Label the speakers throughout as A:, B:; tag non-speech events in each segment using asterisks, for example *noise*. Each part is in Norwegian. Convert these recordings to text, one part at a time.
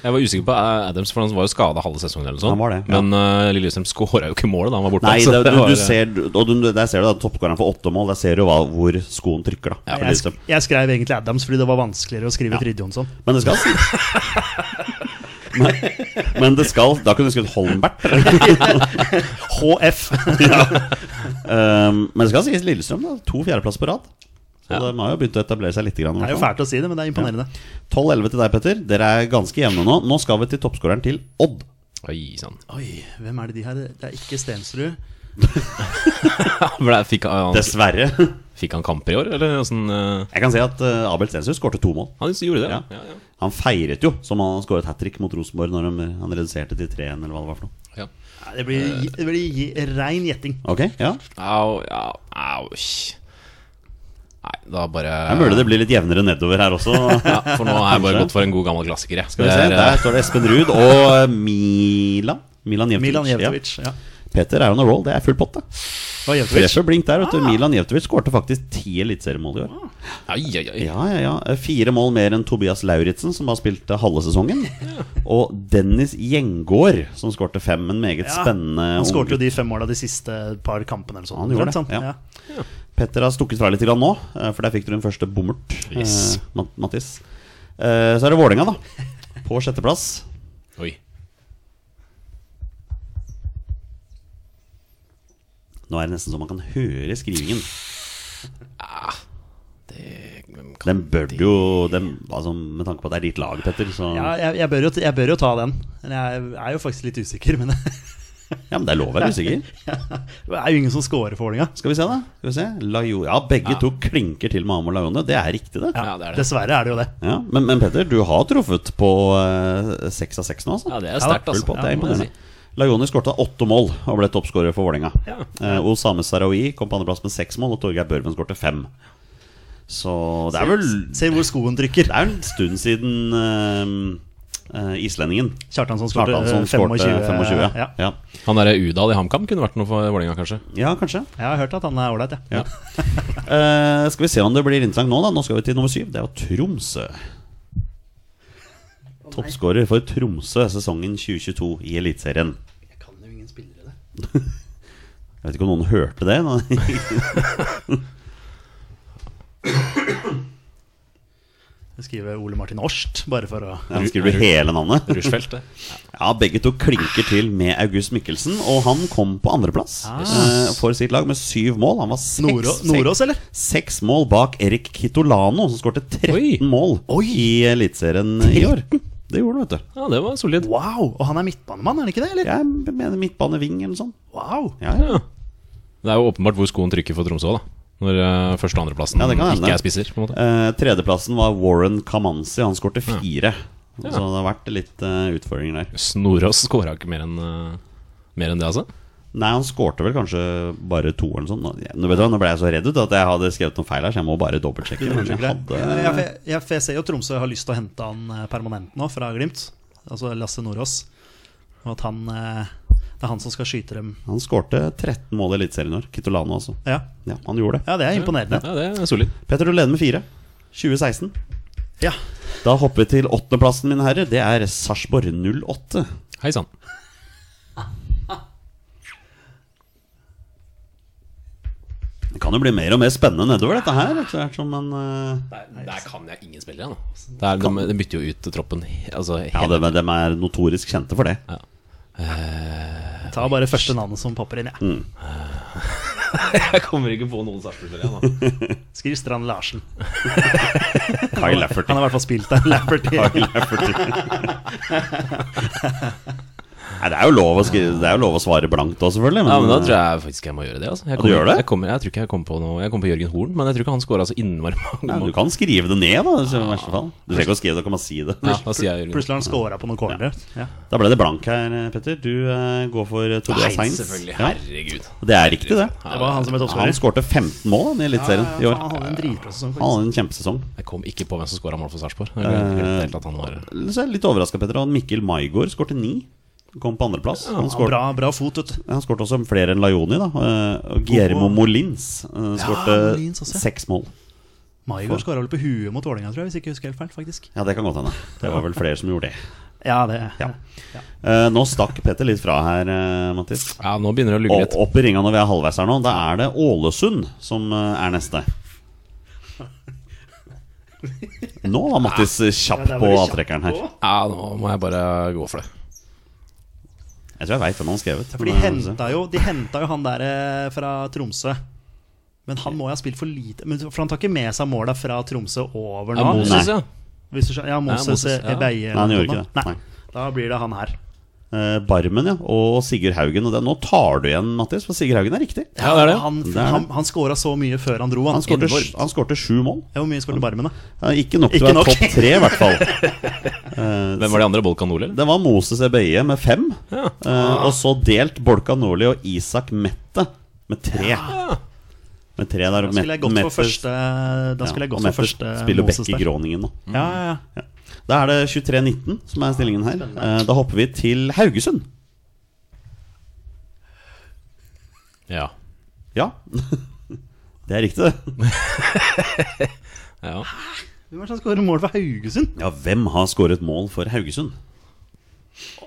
A: Jeg var usikker på eh, Adams, for han var jo skada halve sesongen. eller sånn
B: Han var det, ja.
A: Men uh, Lillestrøm skåra jo ikke målet da han var borte.
B: Nei,
A: så
B: det, du,
A: var,
B: du
A: eh,
B: ser, og du, der ser du da toppskåreren for åtte mål. Der ser du hva, hvor skoen trykker. da
A: Ja,
B: for
C: Jeg,
B: Lillestrøm.
C: sk jeg skrev egentlig Adams fordi det var vanskeligere å skrive
B: Ja.
C: Fridtjonsson.
B: Men det skal *laughs* si men, men det skal Da kunne du skrevet Holmbert.
C: HF.
B: *laughs* Um, men det skal sies Lillestrøm. da To fjerdeplass på rad. Så
A: Ja.
B: de har jo begynt å etablere seg litt. Grann, i
C: Det er jo
B: hvert fall.
C: fælt å si det, men det er imponerende.
B: 12-11 til deg, Petter. Dere er ganske jevne nå. Nå skal vi til toppskåreren til Odd.
A: Oi sånn. *laughs* sann.
C: Oi, hvem er det de her? Det er ikke Stensrud.
A: Ble- Fikk, han-
B: Dessverre. Jeg
A: fikk han kamper i år, eller åssen
B: kan si at uh, Abel Stensrud skårte to mål.
A: Han gjorde det.
B: Ja.
A: Ja. Ja, ja.
B: Han feiret jo som han hadde skåret hat trick mot Rosenborg når de, eh, han reduserte til 3-1, eller hva det var for noe.
A: Ja.
C: Nei, Det blir, Eh, det blir gi- rein gjetting.
B: Ok, ja
A: Au, ja, au. sh. Nei, da bare
B: Det er mulig det blir litt jevnere nedover her
C: *laughs*
B: også.
A: Ja, for nå har jeg bare
B: Kanskje.
A: gått for en god gammel klassiker. Jeg.
B: Skal vi se,
A: Det er, eh,
B: Der står det Espen Ruud og eh, Milan. Milan Jevtovic.
C: Milan Jevtovic. Ja.
B: Ja. Peter er on a roll. Det er full pott, det.
C: Det var Jevtovic.
B: Treffer blink der. vet du
C: Ah.
B: Milan Jevtovic skårte faktisk ti eliteseriemål i år.
A: Ai, ai, ai.
B: Ja, ja, ja Eh, Fire mål mer enn Tobias Lauritzen, som har spilt eh, halve sesongen. Og Dennis Gjengård, som skårte fem. En meget
C: Ja,
B: spennende
C: Han skårte jo
B: ung-
C: de fem måla de siste par kampene. eller sånt.
B: Han gjorde
C: Rett
B: det,
C: sånn,
B: ja. Petter har stukket fra litt grann nå, eh, for der fikk du den første bommert. eh,
A: Yes.
B: Mat- Mattis. Eh, Så er det Vålerenga, da. På sjetteplass.
A: Oi.
B: Nå er det nesten så man kan høre skrivingen.
A: Ah, Det kan
B: Den bør du jo den, altså, Med tanke på at det er ditt lag, Petter, så
C: Ja, jeg, jeg, bør jo, jeg bør jo ta den. Men *laughs* Jeg er jo faktisk litt usikker, men
B: Ja, men det er lov å være usikker.
C: Det er jo ingen som scorer for Vålerenga.
B: Skal vi se, da. Skal vi se. Lajo, ja, begge to klinker til med Amor Lajone. Det er riktig, det. Ja.
A: Ja, det er det.
C: Dessverre er det jo det.
B: men, men Petter, du har truffet på eh, seks av seks nå, altså.
A: Ja, det er sterkt,
B: Full
A: altså.
B: pott, det er
A: Ja, må jeg
B: imponerende. Lajone skårta åtte mål og ble toppskårer for Vålerenga.
A: Ja.
B: Eh, Osame Sarawi kom på andreplass med seks mål, og Torgeir Børven skårte fem. Så det er vel
C: Se hvor skoen trykker.
B: Det er en stund siden eh, eh, islendingen
C: Kjartansson skårte
B: Kjartansson
C: 25.
B: skårte 25.
C: Ja.
B: Ja. Ja.
A: si. Han derre Udal i HamKam kunne vært noe for Vålerenga, kanskje.
B: ja, kanskje.
C: Jeg har hørt at han er ålreit, ja.
B: Ja. Eh, skal vi se om det blir interessant nå, da. Nå skal vi til nummer syv. Det er jo Tromsø. Toppskårer for Tromsø sesongen 2022 i Eliteserien.
C: Jeg kan jo ingen spillere det.
B: Jeg vet ikke om noen hørte det. *laughs* nå.
C: Jeg skriver Ole Martin Årst, bare for å
B: Han skriver hele navnet.
A: Rushfeldt, det.
B: Ja, Begge to klinker til med August Mikkelsen, og han kom på andreplass
A: Ah.
B: eh, for sitt lag med syv mål. Han var seks,
C: Norå- Nordås, eller?
B: seks mål bak Erik Kitolano, som skårte 13
A: Oi.
B: mål i Eliteserien i år. Det gjorde han, vet du.
A: Ja, det var solid.
C: Wow! Og han er midtbanemann, er han ikke det? eller?
B: Jeg mener midtbaneving eller noe sånt.
C: Wow!
B: Ja, ja.
A: Ja. Det er jo åpenbart hvor skoen trykker for Tromsø, da. Når eh, første- og andreplassen
B: Ja, det kan hende.
A: ikke er spisser. på en måte
B: Eh, tredjeplassen var Warren Kamanzi. Han skårte fire. Så det har vært litt eh, utfordringer der.
A: Snorås skåra ikke mer enn eh, mer enn det, altså.
B: Nei, han skårte vel kanskje bare to eller noe sånt. Nå- Nå, vet du, hva, nå ble jeg så redd ut at jeg hadde skrevet noe feil her, så jeg må bare dobbeltsjekke. Men jeg
C: Jeg,
B: hadde
C: jeg, jeg, jeg ser jo Tromsø har lyst til å hente han eh, permanent nå, fra Glimt. Altså Lasse Nordås. Og at han eh, Det er han som skal skyte dem.
B: Han skårte 13 mål i Eliteserien i år. Kitolano, altså.
C: Ja,
B: Ja, han gjorde det.
C: ja det er imponerende.
A: Ja, det er solid.
B: Petter, du leder med fire. 2016.
C: Ja.
B: Da hopper vi til åttendeplassen, mine herrer. Det er Sarpsborg 08.
A: Hei sann.
B: Det kan jo bli mer og mer spennende nedover dette her. etter hvert som en, eh,
A: Der, kan jeg ingen spillere nå. Der, de, de bytter jo ut troppen he- altså,
B: Ja,
A: hele
B: de, de er notorisk kjente for det.
A: Eh.
C: Ta bare første navnet som popper inn, jeg.
B: Mm.
A: Jeg kommer ikke på noen Sarpsborg-spillere nå.
C: Skriv Strand Larsen.
B: Kai Lafferty.
C: Han har i hvert fall spilt der. Lafferty.
B: Kyle *laughs* Lafferty. Nei, det er jo lov å, skrive, det er jo lov å svare blankt òg, selvfølgelig. Men,
A: Ja, men Da tror jeg faktisk jeg må gjøre det. Altså. Jeg,
B: eh, du gjør det?
A: Jeg, kommer, jeg tror ikke jeg kommer på noe Jeg kommer på Jørgen Horn, men jeg tror ikke han scora så innmari mange
B: Ja, du
A: mål.
B: kan skrive det ned, da. så I verste fall. Du trenger ikke å skrive det, du kan bare si det.
A: Ja, da sier jeg Jørgen Horn.
C: Plutselig har han scora på noen corner. Ja.
B: Da ble det blank her, Petter. Du eh, går for eh, Tobias
A: Nei,
B: Heinz. Ja,
A: selvfølgelig. Herregud.
B: det er riktig, det.
C: Det var han som ble
B: Ja, han
C: toppskårer.
B: skårte 15 mål han, i Eliteserien i
C: Ja, ja,
B: år.
C: faen, Han hadde en dritbra sesong.
B: Han
C: faktisk.
B: hadde en kjempesesong.
A: Jeg kom ikke på hvem som scora mål for Sarpsborg. Jeg glemte helt at han var
B: Så jeg er litt overraska, Petter. Han Mikkel Maigård skårte ni. Kom på andreplass. Han
C: Han har
B: skårte
C: Bra, bra fot, vet du.
B: han skårte også flere enn Lajoni. da eh, Og Guillermo
C: Oho.
B: Molins eh, skårte
C: Molins også, ja.
B: seks mål.
C: Maigård skåra vel på huet mot Vålerenga, tror jeg, hvis jeg ikke husker helt feil, faktisk.
B: Ja, det kan godt hende. Det var vel flere som gjorde det.
C: Ja, det
B: Ja.
C: ja.
B: Eh, nå stakk Petter litt fra her, uh, Mattis.
A: Ja, nå begynner det å lugge
B: Og
A: litt.
B: opp i ringa når vi er halvveis her nå, da er det Ålesund som eh, er
C: *laughs*
B: neste. Nå var Mattis eh, kjapp
C: der var
B: på
C: du kjapp
B: avtrekkeren her.
A: Ja, nå må jeg bare gå for det.
B: Jeg tror jeg veit hvem han har skrevet.
C: For de
B: men, eh,
C: henta jo, de henta jo han der eh, fra Tromsø. Men han må jo ha spilt for lite men, For han tar ikke med seg måla fra Tromsø over nå?
A: Ja, Moses,
B: Nei.
A: ja.
C: Hvis du skjønner, ja, Moses,
A: Moses, ja.
C: eh, Ebeie
B: Nei, han gjorde
C: eller
B: ikke
C: noe.
B: det.
C: Nei. Da blir det han her.
B: eh, Barmen ja, og Sigurd Haugen. Og det, nå tar du igjen, Mattis, for Sigurd Haugen er riktig.
A: Ja, det er det.
C: Han,
B: Det er det.
C: han, han scora så mye før han dro. Han,
B: Han skårte
C: Ingeborg.
B: sj- han skårte sju mål.
C: Ja, Hvor mye skåret Barmen, da?
B: Eh, Ikke nok til å
C: Ikke
B: være
C: nok.
B: topp tre, i hvert fall.
C: *laughs*
B: Eh,
A: Hvem var de andre? Bolkan Nordli, eller?
B: Det var Moses Ebeye med fem.
A: Ja.
B: eh, og så delt Bolka Nordli og Isak Mette med tre. Med tre der
C: Da skulle jeg gått for første, da skulle jeg gått for første
B: spiller
C: Moses
B: Bekke
C: der.
B: Groningen nå.
C: Ja, ja, ja.
B: Da er det 23-19 som er stillingen her. Eh, da hopper vi til Haugesund.
A: Ja.
B: Ja. *laughs* Det er riktig, det.
A: ja.
C: Hvem er det som skårer mål for Haugesund?
B: Ja, hvem har skåret mål for Haugesund?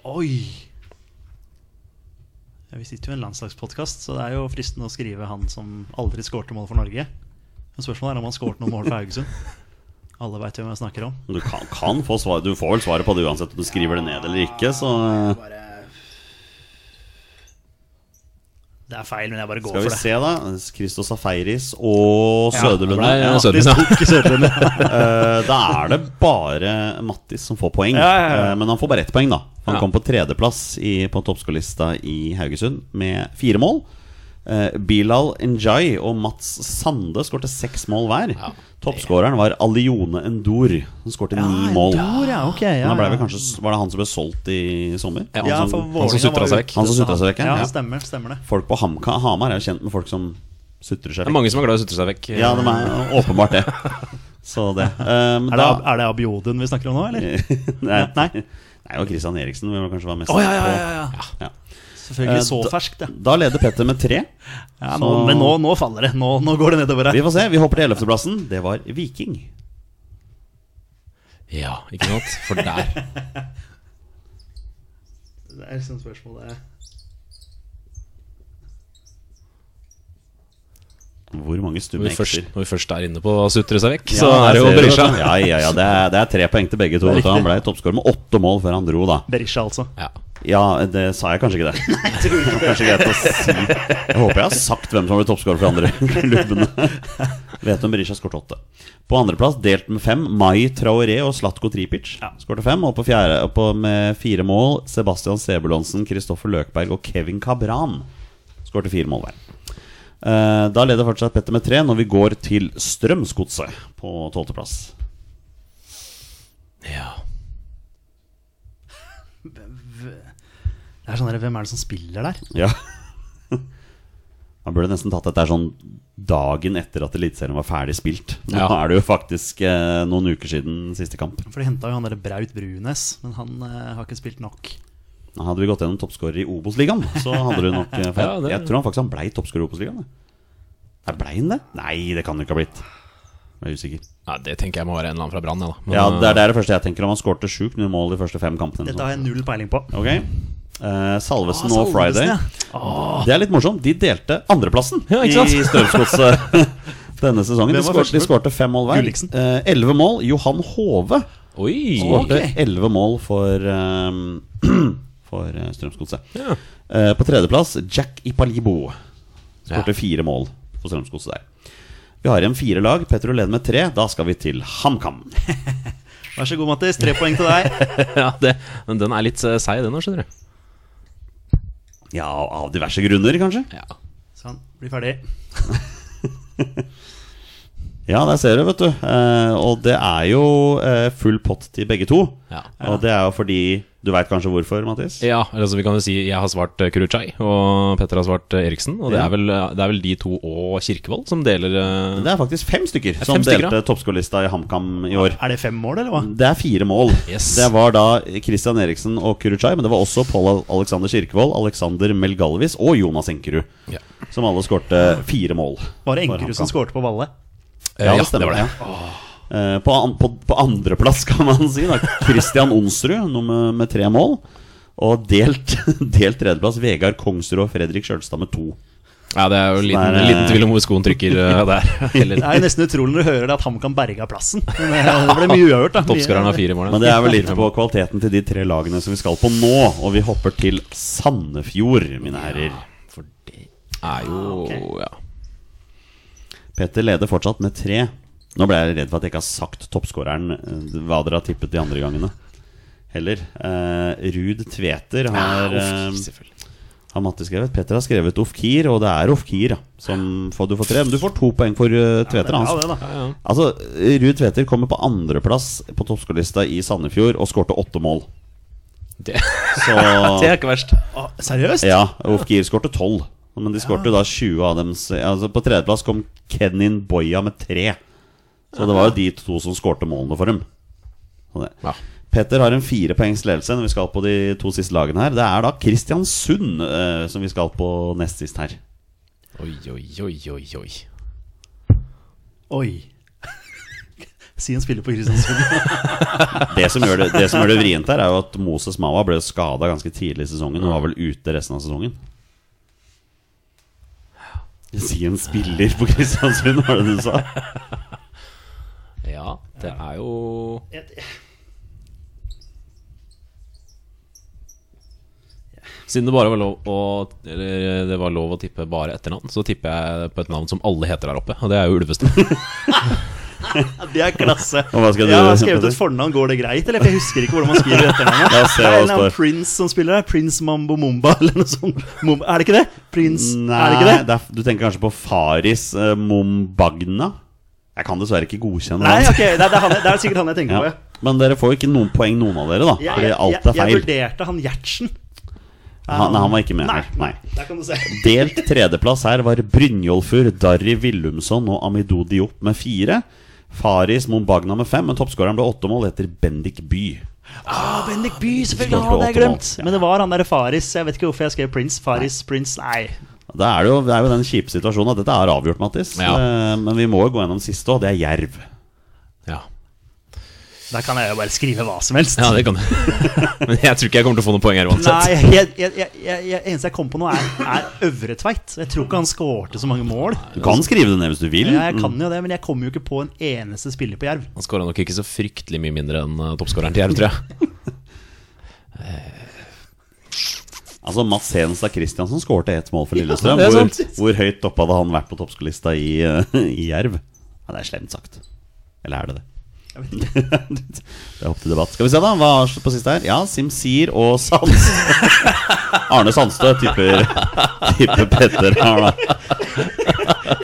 C: Oi! Ja, vi sitter jo i en landslagspodkast, så det er jo fristende å skrive han som aldri skårte mål for Norge. Men spørsmålet er om han skåret noen mål for Haugesund. Alle veit hvem jeg snakker om.
B: Du kan, kan få svar, du får vel svaret på det uansett om du skriver det ned eller ikke, så eh,
C: Det Det er feil, men jeg bare går
B: Skal vi
C: for det.
B: se, da. Christos Safaris og Søderlund.
A: Nei,
B: Ja, *laughs*
A: Søderlund, ja.
C: Ikke Søderlund.
B: Eh, da er det bare Mattis som får poeng.
C: Ja, ja, ja.
B: Eh, men han får bare ett poeng, da. Han
A: Ja.
B: kom på tredjeplass i, på toppskårerlista i Haugesund med fire mål. Eh, Bilal Njay og Mats Sande skårte seks mål hver. Toppskåreren var Alione Endor, som skårte ni mål.
C: Endor, Ah, ja, ok, ja,
B: Men han ble vel
C: ja.
B: kanskje, var det han som ble solgt i sommer?
A: Ja,
C: Ja,
B: han
C: for
B: som,
A: han
C: Vålerenga
A: som
C: var
A: sutret seg
C: ute,
A: vekk.
B: Han som
C: så
B: sutret seg vekk, altså, ja.
C: Ja, stemmer, stemmer det.
B: folk på Hamka, Hamar er jo kjent med folk som sutrer seg
A: Det er
B: vekk.
A: mange som er glad i å sutre seg vekk.
B: Ja, de er åpenbart det. Så det. Um,
C: Er det, Ab- er det Abiodun vi snakker om nå, eller?
B: *laughs* Nei. Nei. Det er jo Christian Eriksen vi kanskje var mest
C: Å ja, ja, ja, ja.
B: på. Ja. Eh,
C: Selvfølgelig så
B: da-
C: ferskt, ja.
B: Da leder Petter med tre.
C: ja nå, men nå, nå faller det. Nå, nå går det nedover
B: Vi
C: her.
B: får se. Vi hopper til ellevteplassen. Det var Viking.
A: Ja, ikke sant? For der
C: Det er liksom spørsmålet
B: Hvor mange
A: Når
B: stumme
A: vi først,
B: ekser
A: når vi først er inne på å sutre seg vekk,
B: Ja,
A: så er det jo
B: der ser du,
A: Berisha.
B: vet du. Ja, ja, ja, det er, det er tre poeng til begge
A: *laughs*
B: to. vet du. Han ble toppskårer med åtte mål før han dro, da.
C: Berisha, altså.
A: Ja.
B: Ja, det sa jeg kanskje ikke det. Kanskje greit å si Jeg håper jeg har sagt hvem som ble toppskårer for andre klubbene. Vet om Berisha skåret åtte. På andreplass, delt med fem, Mai Traoré og Slatko Tripic.
C: Ja.
B: Skårte fem. Og på fjerde og på med fire mål, Sebastian Sebulonsen, Kristoffer Løkberg og Kevin Cabran. Skårte fire mål hver. Eh, Da leder fortsatt Petter med tre når vi går til Strømsgodset på tolvteplass.
A: ja.
C: Det er sånn der, Hvem er det som spiller der?
B: Ja Man burde nesten tatt dette her sånn dagen etter at Eliteserien var ferdig spilt. Nå
A: Ja.
B: er det jo faktisk eh, noen uker siden siste kamp.
C: For de henta jo han derre Braut Brunes, men han eh, har ikke spilt nok.
B: Hadde vi gått gjennom toppskårer i Obos-ligaen, så hadde du nok
A: *laughs*
B: eh, for jeg,
A: Ja, det-
B: jeg tror han faktisk han blei toppskårer i Obos-ligaen. jeg. Nei, Blei han det? Nei, det kan det ikke ha blitt. Jeg er usikker.
A: Nei, det tenker jeg må være en eller annen fra Brann, jeg, da. Men,
B: Ja, Det
A: eh,
B: er det er det første jeg tenker om. Han skårte sjukt nye mål de første fem kampene.
C: Dette
B: eller noe
C: har jeg null peiling på.
B: sånt. Ok Eh, Salvesen
C: Ah,
B: og Friday.
C: ja.
B: Det er litt morsomt. De delte andreplassen
A: *laughs* Ja, ikke sant?
B: i Strømsgodset *laughs* denne sesongen. De
C: Hvem var
B: skårte, de
C: førstemann?
B: skårte fem mål hver.
C: Gulliksen.
B: Eh, Elleve mål. Johan Hove
A: Oi!
B: skårte elleve mål for, eh, *clears throat* for eh, Strømsgodset.
A: Ja.
B: Eh, på tredjeplass Jack Ipalibo.
A: Ja.
B: Skårte fire mål for Strømsgodset der. Vi har igjen fire lag. Petro leder med tre. Da skal vi til HamKam. *laughs*
C: Vær så god, Mattis. Tre poeng til deg.
A: *laughs*
C: *laughs*
A: ja, det, men den er litt eh, seig, den òg, skjønner du.
B: Ja, av diverse grunner, kanskje.
A: Ja.
C: Sånn, bli ferdig.
B: Ja, der ser du, vet du. Eh, og det er jo eh, full pott til begge to.
A: Ja.
B: Og det er jo fordi Du veit kanskje hvorfor, Mathis?
A: Ja, altså vi kan jo si jeg har svart eh, Kuruchai, og Petter har svart eh, Eriksen. Og det
B: Ja.
A: er, vel, eh, det er vel de to og Kirkevold som deler eh,
B: Det er faktisk fem stykker
A: er
B: som
A: fem stykker,
B: delte toppskårerlista i HamKam i år.
C: Er det fem mål, eller hva?
B: Det er fire mål.
A: Yes.
B: Det var da Christian Eriksen og Kuruchai, men det var også Pål Alexander Kirkevold, Alexander Melgalvis og Jonas Enkerud.
A: Ja.
B: Som alle skårte fire mål.
C: Var det
B: for
C: Enkerud som
B: HamKam.
C: skårte på Valle?
A: eh,
B: Ja, det stemmer.
A: var
B: det Eh, På, an, på, på andreplass, *laughs* kan man si. Da. Christian Onsrud nummer, med tre mål. Og delt, *laughs* delt tredjeplass Vegard Kongsrud og Fredrik Sjølstad med to.
A: Ja, det er jo en liten,
B: Der, eh,
A: liten tvil om hvor skoen trykker eh,
B: *laughs*
A: der.
C: Det
A: Eller
C: er jo nesten utrolig når du hører det at HamKam berga plassen. *laughs* Men eh, det ble mye
B: *laughs*
C: uavgjort, da.
A: toppskåreren har fire mål.
B: Men det er vel litt på kvaliteten til de tre lagene som vi skal på nå. Og vi hopper til Sandefjord, mine herrer.
A: For det er Ah, jo
B: Ah,
A: Ja.
B: Petter leder fortsatt med tre. Nå ble jeg redd for at jeg ikke har sagt toppskåreren eh, hva dere har tippet de andre gangene. Heller. Eh, Ruud Tveter har,
A: Ja,
B: eh,
A: uff, selvfølgelig.
B: har Matte skrevet. Petter har skrevet Ofkir, og det er Ofkir ja, som får, du får tre. Men du får to poeng for eh, Tveter.
C: Ja,
B: hans.
C: det, da.
A: ja, ja.
B: Altså, Ruud Tveter kommer på andreplass på toppskårerlista i Sandefjord og skårte åtte mål.
A: Det,
B: Så
C: *laughs*
A: det er ikke verst.
C: Å, Ah, seriøst?
B: Ja, Ofkir skårte tolv. Men de skårte jo da 20 av dem. så- Altså på tredjeplass kom Kenin Boya med tre. Så det var jo de to som skårte målene for dem. Så det.
A: Ja.
B: Petter har en firepoengs ledelse når vi skal på de to siste lagene her. Det er da Kristiansund eh, som vi skal på nest sist her.
A: Oi, oi, oi, oi, oi.
C: Oi. *laughs* Si en spiller
B: *laughs*
C: på Kristiansund.
B: Det som gjør det, det, som gjør det vrient her, er jo at Moses Mawa ble skada ganske tidlig i sesongen og var vel ute resten av sesongen. Si en spiller på Kristiansund, var det du sa?
A: Ja, det er jo
C: Jeg-
A: Siden det bare var lov å, eller, det var lov å tippe bare etternavn, så tipper jeg på et navn som alle heter der oppe, og det er jo *laughs* Ulvestuen.
C: Det er klasse.
B: Og hva skal du-
C: jeg har skrevet et fornavn. Går det greit, eller? For jeg husker ikke hvordan man skriver etternavnet.
B: *laughs* La oss se hva det
C: Det er en eller annen
B: står.
C: Prince som spiller der. Prince Mambo Mumba, *laughs* eller noe sånt. Mum- Er det ikke det? Prince
B: Nei,
C: Er det ikke det?
B: det er- du tenker kanskje på Faris eh, Mumbagna? Jeg kan dessverre ikke godkjenne
C: Nei,
B: den.
C: ok, det er, det er, han, jeg- det er sikkert han jeg tenker
B: Ja.
C: på. ja.
B: Men dere får jo ikke noen poeng, noen av dere, da.
C: Jeg,
B: Fordi
C: jeg,
B: alt
C: jeg,
B: er
C: jeg
B: feil.
C: vurderte han Gjertsen.
B: Han, nei, han var ikke med
C: Nei.
B: her. Nei.
C: Der kan du se.
B: Delt tredjeplass her var Brynjolfur, Darry Willumsson og Amidou Diop med fire. Faris Mumbagna med fem, men toppskåreren ble åtte mål etter Bendik By.
C: Ah, Bendik By,
B: Skårte
C: selvfølgelig. Han hadde jeg
B: åtte mål.
C: glemt. Men det var han derre Faris. Jeg vet ikke hvorfor jeg skrev Prince. Faris, Prince, nei.
B: Det er, det jo, det er jo den kjipe situasjonen at dette er avgjort, Mattis.
A: Ja.
B: Eh, Men vi må jo gå gjennom siste, og det er Jerv.
A: Ja.
C: Der kan jeg jo bare skrive hva som helst.
A: ja, det kan du. *laughs* Men jeg tror ikke jeg kommer til å få noen poeng her uansett.
C: Nei, jeg, jeg, jeg, jeg, jeg, eneste jeg kom på nå, er, er Øvre Tveit. Jeg tror ikke han skårte så mange mål.
B: Du kan skrive det ned hvis du vil.
C: Ja, jeg kan jo det, men jeg kommer jo ikke på en eneste spiller på Jerv.
A: Han skåra nok ikke så fryktelig mye mindre enn eh, toppskåreren til Jerv, tror jeg.
B: Altså Mats Hedenstad Christiansen skårte ett mål for Lillestrøm.
A: det er
B: hvor,
A: sant.
B: hvor høyt oppe hadde han vært på toppskolista i, eh, i Jerv? Ja, det er slemt sagt. Eller er det det? *laughs* det er opp til debatt. Skal vi se, da. Hva er på siste her? Ja, Simsir og Sands. *laughs* Arne Sandstø tipper, tipper Petter her, da.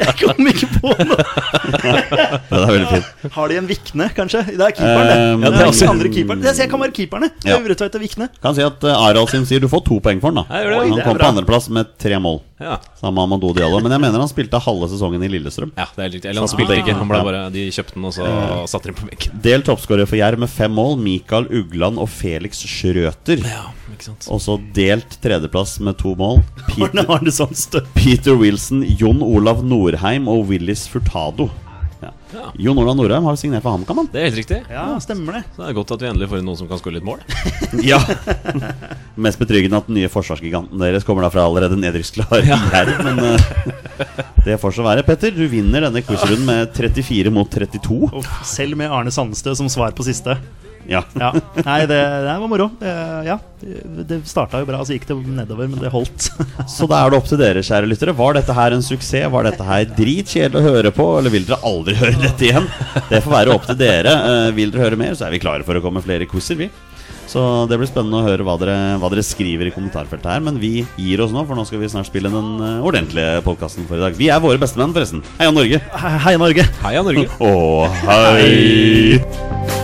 C: Jeg kom ikke på noe.
B: Det er veldig fint.
C: Har de en Vikne, kanskje? Det er keeperen, det.
B: Um,
C: det er
B: ja.
C: den andre keeperen. Det- så Jeg kan være keeperne.
B: Ja.
C: Øvre Tveit og Vikne.
B: Kan si at eh, Harald Simsir, du får to poeng for den, da.
A: Ja, gjør det. Oi,
B: han
C: det er
B: kom
C: bra.
B: på andreplass med tre mål.
A: *laughs* Ja.
B: Sammen med Amadou Diallo. Men jeg mener han spilte halve sesongen i Lillestrøm.
A: Ja, det er helt riktig. Eller han spilte ikke. Han ble bare, de kjøpte den, og så satte de den på benken.
B: Delt toppskårer for Jerv med fem mål, Mikael Ugland og Felix Schrøter.
A: Ja, ikke sant.
B: Og så delt tredjeplass med to mål. Peter,
C: Arne Arne
B: sånn
C: Sandstø.
B: Peter Wilson, Jon Olav Norheim og Willis Furtado. Ja.
A: Ja.
B: Jon Olav Norheim har jo signert for HamKam, han.
A: Det er helt riktig.
C: Ja, stemmer det.
A: Så det er godt at vi endelig får inn noen som kan skåre litt mål.
B: Ja. *laughs* Mest betryggende at den nye forsvarsgiganten deres kommer da fra allerede nedrykksklar Jerv, men eh, *laughs* det får så være. Petter, du vinner denne quizrunden med 34 mot 32.
C: Uff, selv med Arne Sandstø som svar på siste.
B: Ja.
C: Ja. Nei, det, det var moro. Eh, Ja, det det starta jo bra, så gikk det nedover, men det holdt.
B: Så da er det opp til dere, kjære lyttere. Var dette her en suksess? Var dette her dritkjedelig å høre på? Eller vil dere aldri *laughs* høre dette igjen? Det får være opp til dere. Eh, Vil dere høre mer, så er vi klare for å komme med flere quizer, vi. Så det blir spennende å høre hva dere, hva dere skriver i kommentarfeltet her. Men vi gir oss nå, for nå skal vi snart spille den eh, ordentlige podkasten for i dag. Vi er våre bestemenn, forresten. Heia Norge!
C: Hei, Norge!
A: Heia Norge!
B: Og hei!